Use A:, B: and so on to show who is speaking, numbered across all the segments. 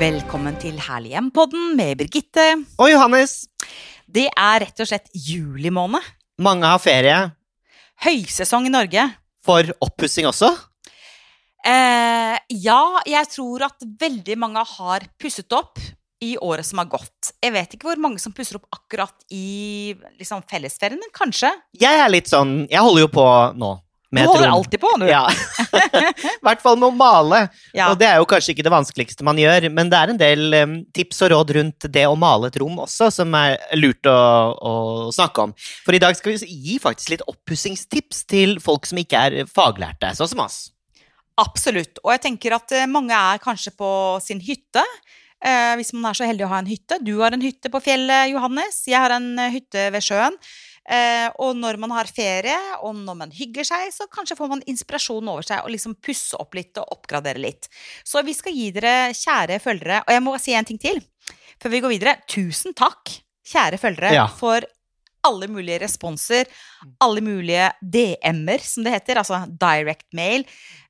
A: Velkommen til Herlig hjem-podden med Birgitte.
B: Og Johannes,
A: Det er rett og slett juli måned.
B: mange har ferie
A: Høysesong i Norge.
B: for oppussing også.
A: Eh, ja, jeg tror at veldig mange har pusset opp i året som har gått. Jeg vet ikke hvor mange som pusser opp akkurat i liksom, fellesferien, men kanskje.
B: Jeg er litt sånn Jeg holder jo på nå.
A: Du holder
B: Trond.
A: alltid på, du.
B: Ja. I hvert fall med å male.
A: Ja.
B: Og det er jo kanskje ikke det vanskeligste man gjør, men det er en del em, tips og råd rundt det å male et rom også, som er lurt å, å snakke om. For i dag skal vi gi faktisk litt oppussingstips til folk som ikke er faglærte, sånn som oss.
A: Absolutt. Og jeg tenker at eh, mange er kanskje på sin hytte. Eh, hvis man er så heldig å ha en hytte. Du har en hytte på fjellet, Johannes. Jeg har en eh, hytte ved sjøen. Eh, og når man har ferie, og når man hygger seg, så kanskje får man inspirasjon over seg og liksom pusse opp litt og oppgradere litt. Så vi skal gi dere, kjære følgere Og jeg må si en ting til før vi går videre. Tusen takk, kjære følgere,
B: Ja.
A: for alle mulige responser, alle mulige DM-er, som det heter, altså direct mail,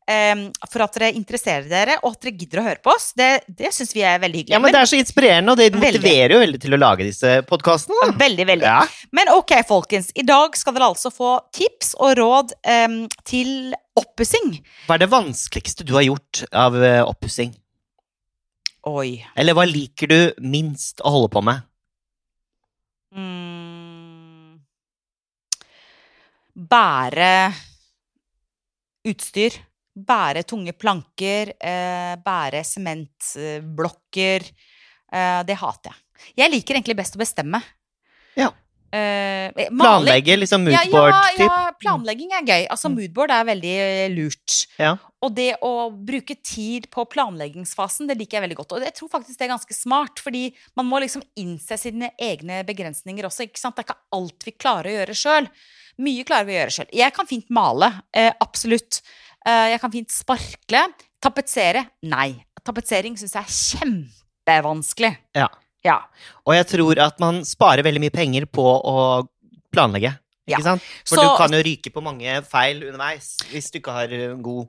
A: em, for at dere interesserer dere, og at dere gidder å høre på oss. Det, det syns vi er veldig hyggelig.
B: Ja, men det er så inspirerende, og det
A: Veldig.
B: motiverer jo veldig til å lage disse podkastene.
A: Men- veldig, veldig.
B: Ja.
A: Men ok, folkens. I dag skal dere altså få tips og råd em, til oppussing.
B: Hva er det vanskeligste du har gjort av eh, oppussing?
A: Oi.
B: Eller hva liker du minst å holde på med?
A: Mm. Bære utstyr. Bære tunge planker. Eh, bære sementblokker. Eh, det hater jeg. Jeg liker egentlig best å bestemme.
B: Ja.
A: Eh, eh, maling-
B: Planlegge, liksom
A: Ja,
B: moodboard-typ?
A: Ja, ja, planlegging er gøy. Altså,
B: Mm.
A: moodboard er veldig eh, lurt.
B: Ja.
A: Og det å bruke tid på planleggingsfasen, det liker jeg veldig godt. Og jeg tror faktisk det er ganske smart, fordi man må liksom innse sine egne begrensninger også. ikke sant? Det er ikke alt vi klarer å gjøre sjøl. Mye klarer vi å gjøre sjøl. Jeg kan fint male. Eh, absolutt. Eh, jeg kan fint sparkle. Tapetsere. Nei. Tapetsering syns jeg er kjempevanskelig.
B: Ja.
A: ja.
B: Og jeg tror at man sparer veldig mye penger på å planlegge.
A: Ja.
B: Ikke sant? For
A: Så-
B: du kan jo ryke på mange feil underveis hvis du ikke har eh, en god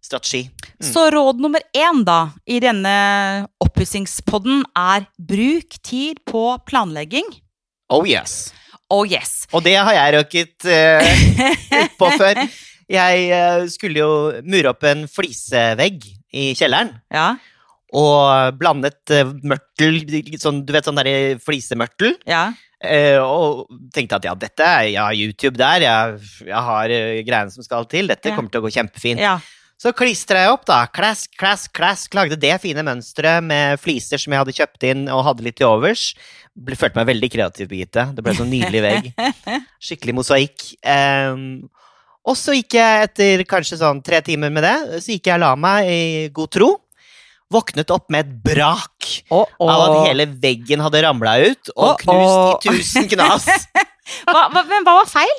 B: strategi. Mm.
A: Så råd nummer én da, i denne oppussingspodden er bruk tid på planlegging.
B: Oh yes.
A: Oh yes.
B: Og det har jeg røket eh, på før. Jeg eh, skulle jo mure opp en flisevegg i kjelleren.
A: Ja,
B: Og blandet eh, mørtel, sånn, du vet sånn derre flisemørtel.
A: ja.
B: Eh, og tenkte at ja, dette er jeg har YouTube der, jeg, jeg har eh, greiene som skal til, dette
A: Ja.
B: kommer til å gå kjempefint.
A: ja.
B: Så klistra jeg opp, da. Klask, klask, klask. Lagde det fine mønsteret med fliser som jeg hadde kjøpt inn og hadde litt til overs. Ble, følte meg veldig kreativ, Birgitte. Det ble en sånn nydelig vegg. Skikkelig mosaikk. Ehm, og så gikk jeg etter kanskje sånn tre timer med det, så gikk jeg og la meg i god tro. Våknet opp med et brak av at hele veggen hadde ramla ut
A: Å,
B: og
A: å.
B: knust i tusen knas.
A: Hva, hva, men hva var feil?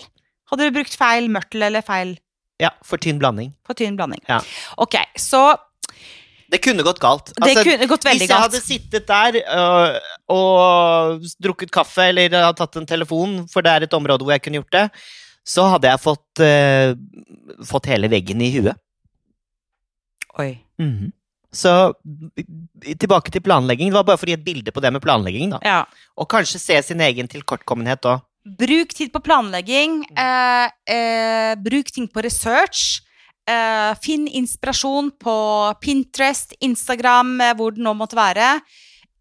A: Hadde du brukt feil mørtel eller feil
B: Ja, for tynn blanding.
A: for tynn blanding?
B: Ja.
A: Ok, så
B: Det kunne gått galt.
A: det
B: Altså,
A: kunne gått veldig
B: Hvis jeg
A: galt.
B: hadde sittet der øh, og drukket kaffe eller hadde tatt en telefon, for det er et område hvor jeg kunne gjort det, så hadde jeg fått, øh, fått hele veggen i huet.
A: Oi. Mhm.
B: Så i- tilbake til planlegging. Det var bare for å gi et bilde på det med planlegging. da.
A: Ja.
B: Og kanskje se sin egen tilkortkommenhet òg.
A: Bruk tid på planlegging.
B: Mm.
A: Eh, eh, bruk ting på research. Eh, finn inspirasjon på Pinterest, Instagram, eh, hvor det nå måtte være.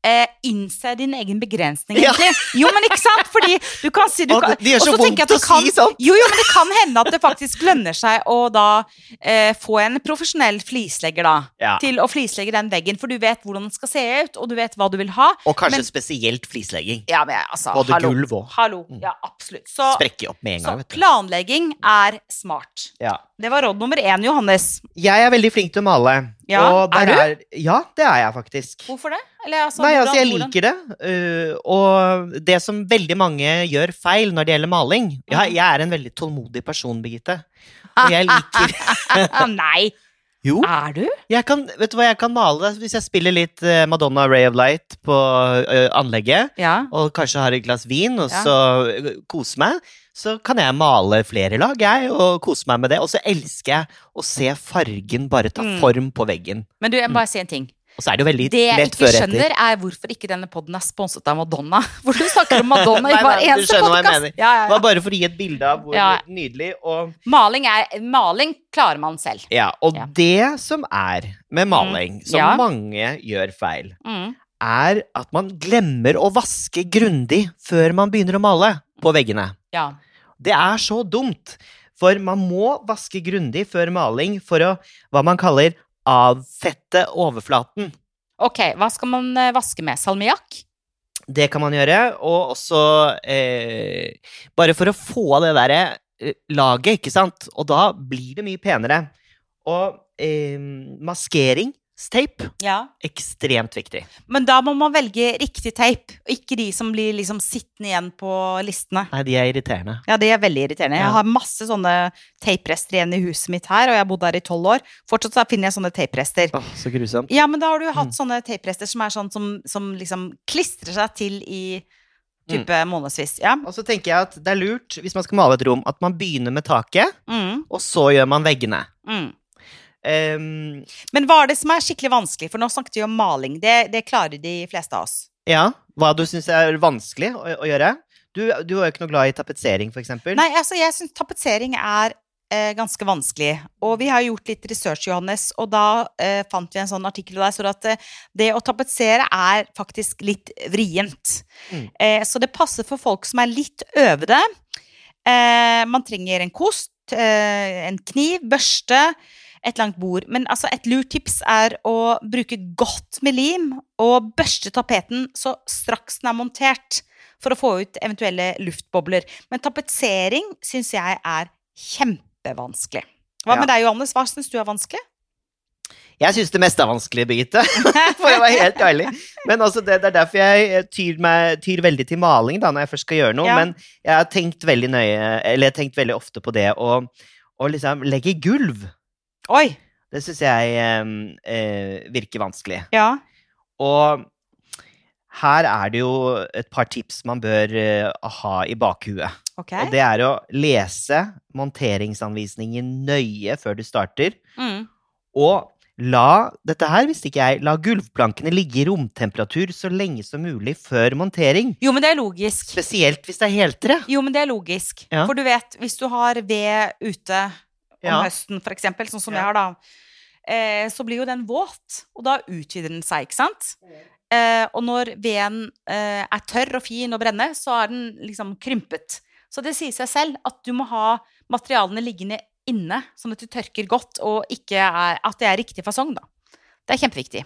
A: Eh, innse din egen begrensning,
B: Ja.
A: egentlig. Jo, men ikke sant? Fordi du kan si du
B: Å,
A: kan,
B: det- det gjør
A: og
B: så
A: tenker jeg at
B: vondt
A: det
B: å
A: kan,
B: si sånt.
A: Jo, jo, men det kan hende at det faktisk lønner seg å da eh, få en profesjonell flislegger, da.
B: Ja.
A: Til å flislegge den veggen, for du vet hvordan den skal se ut, og du vet hva du vil ha.
B: Og kanskje
A: Men-
B: spesielt flislegging.
A: Ja, men altså,
B: Både
A: hallo.
B: gulv og
A: Hallo.
B: Mm.
A: Ja, absolutt. Så,
B: sprekke opp med en
A: så
B: gang. vet du.
A: planlegging er smart.
B: Ja.
A: Det var råd nummer én, Johannes.
B: Jeg er veldig flink til å male.
A: Ja,
B: og
A: er
B: der
A: du?
B: Er, ja, det er jeg faktisk.
A: Hvorfor det? Eller, altså,
B: Nei,
A: hvordan-
B: altså, jeg
A: hvordan-
B: liker det. øh, og det som veldig mange gjør feil når det gjelder maling
A: Mm.
B: Jeg, jeg er en veldig tålmodig person, Birgitte. Og jeg liker
A: Ah, Nei,
B: Jo,
A: er du?
B: jeg kan, vet du hva, jeg kan male hvis jeg spiller litt øh, Madonna Ray of Light på øh, anlegget,
A: Ja.
B: og kanskje har et glass vin, og
A: Ja.
B: så øh, koser meg. Så kan jeg male flere lag, jeg, og kose meg med det. Og så elsker jeg å se fargen bare ta
A: Mm.
B: form på veggen.
A: Men du, jeg må bare si en ting.
B: Og så er det jo
A: Det
B: veldig
A: jeg
B: lett
A: ikke
B: før etter.
A: skjønner, er hvorfor ikke denne podden er sponset av Madonna. Hvor du snakker om Madonna i
B: Nei,
A: hver
B: nei, du
A: eneste
B: skjønner hva jeg
A: podkast.
B: mener.
A: Ja, ja, ja.
B: Det var bare for å gi et bilde av hvor
A: Ja.
B: nydelig og
A: Maling, er, maling klarer man selv.
B: Ja, og
A: Ja. Mm.
B: det som er med maling, som
A: Ja.
B: mange gjør feil,
A: Mm.
B: er at man glemmer å vaske grundig før man begynner å male på veggene.
A: Ja.
B: Det er så dumt, for man må vaske grundig før maling for å hva man kaller avfette overflaten.
A: Ok, hva skal man eh, vaske med? Salmiakk?
B: Det kan man gjøre, og også eh, Bare for å få av det derre eh, laget, ikke sant? Og da blir det mye penere. Og eh, maskeringsteip
A: Ja.
B: ekstremt viktig.
A: Men da må man velge riktig teip, og ikke de som blir liksom sittende igjen på listene.
B: Nei, de er irriterende.
A: Ja, det er veldig irriterende.
B: Ja.
A: Jeg har masse sånne teiprester igjen i huset mitt her, og jeg har bodd her i tolv år. Fortsatt så finner jeg sånne teiprester.
B: Åh, så grusomt.
A: Ja, men da har du jo hatt
B: Mm.
A: sånne teiprester som er sånn som, som liksom klistrer seg til i type
B: Mm.
A: månedsvis. Ja.
B: Og så tenker jeg at det er lurt, hvis man skal male et rom, at man begynner med taket,
A: Mm,
B: og så gjør man veggene.
A: mm.
B: Ehm,
A: Men hva er det som er skikkelig vanskelig? For nå snakket vi om maling. Det, det klarer de fleste av oss.
B: ja, hva du syns er vanskelig å, å gjøre? Du, du var jo ikke noe glad i tapetsering, for eksempel.
A: Nei, altså, jeg syns tapetsering er eh, ganske vanskelig. Og vi har gjort litt research, Johannes, og da eh, fant vi en sånn artikkel der står det at eh, det å tapetsere er faktisk litt vrient.
B: Mm.
A: Eh, så det passer for folk som er litt øvede. Eh, man trenger en kost, eh, en kniv, børste, et langt bord. Men altså, et lurt tips er å bruke godt med lim og børste tapeten så straks den er montert, for å få ut eventuelle luftbobler. Men tapetsering syns jeg er kjempevanskelig. Hva med deg, Johannes? Hva syns du er vanskelig?
B: Jeg syns det meste er vanskelig, Birgitte. For å være helt ærlig. Men altså, det, det er derfor jeg eh, tyr, meg, tyr veldig til maling da, når jeg først skal gjøre noe.
A: Ja.
B: Men jeg har tenkt veldig nøye, eller jeg har tenkt veldig ofte på det å å liksom legge gulv.
A: Oi!
B: Det syns jeg eh, eh, virker vanskelig.
A: Ja.
B: Og her er det jo et par tips man bør eh, ha i bakhuet.
A: Ok.
B: Og det er å lese monteringsanvisningen nøye før du starter.
A: Mm.
B: Og la dette her, visste ikke jeg, la gulvplankene ligge i romtemperatur så lenge som mulig før montering.
A: Jo, men det er logisk.
B: Spesielt hvis det er heltre.
A: Jo, men det er logisk.
B: Ja.
A: For du vet, hvis du har ved ute om
B: Ja.
A: høsten, for eksempel, sånn som
B: Ja.
A: jeg har da, eh, så blir jo den våt, og da utvider den seg, ikke sant? Eh, og når veden eh, er tørr og fin og brenne, så er den liksom krympet. Så det sier seg selv at du må ha materialene liggende inne, sånn at du tørker godt, og ikke er, at det er riktig fasong, da. Det er kjempeviktig.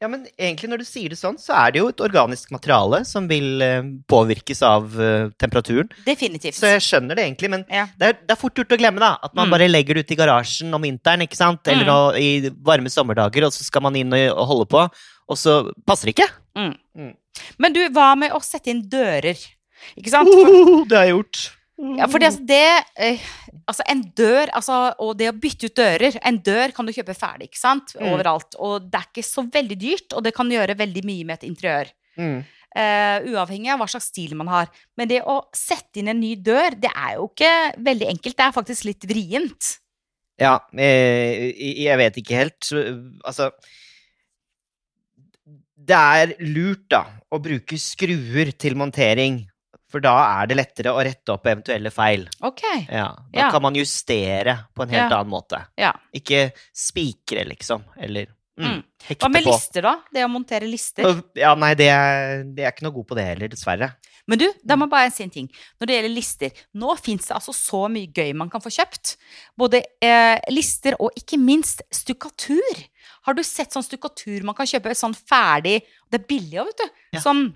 B: Ja, men egentlig når du sier det sånn, så er det jo et organisk materiale som vil eh, påvirkes av eh, temperaturen.
A: Definitivt.
B: Så jeg skjønner det egentlig, men
A: Ja.
B: det er, det er fort gjort å glemme, da. At man
A: Mm.
B: bare legger det ut i garasjen om vinteren, ikke sant? Eller
A: Mm.
B: å, i varme sommerdager, og så skal man inn og, og holde på, og så passer det ikke.
A: Men du, hva med å sette inn dører? Ikke sant? For
B: Uhuhu, det har jeg gjort.
A: Ja, for det, altså, det eh, Altså, en dør, altså, og det å bytte ut dører En dør kan du kjøpe ferdig, ikke sant?
B: Mm.
A: Overalt. Og det er ikke så veldig dyrt, og det kan gjøre veldig mye med et interiør.
B: Mm.
A: Eh, uavhengig av hva slags stil man har. Men det å sette inn en ny dør, det er jo ikke veldig enkelt. Det er faktisk litt vrient.
B: Ja, eh, jeg vet ikke helt. Altså Det er lurt, da, å bruke skruer til montering. For da er det lettere å rette opp eventuelle feil.
A: Ok.
B: Ja, da
A: Ja.
B: kan man justere på en helt
A: Ja.
B: annen måte.
A: Ja.
B: Ikke spikre, liksom. Eller mm,
A: Mm.
B: hekte
A: Hva med
B: på.
A: lister, da? Det å montere lister.
B: Ja, nei, det er, det er ikke noe god på det heller, dessverre.
A: Men du, da må jeg bare si en ting. Når det gjelder lister, nå fins det altså så mye gøy man kan få kjøpt. Både eh, lister og ikke minst stukkatur. Har du sett sånn stukkatur man kan kjøpe sånn ferdig Det er billig òg, vet du.
B: Ja.
A: Sånn,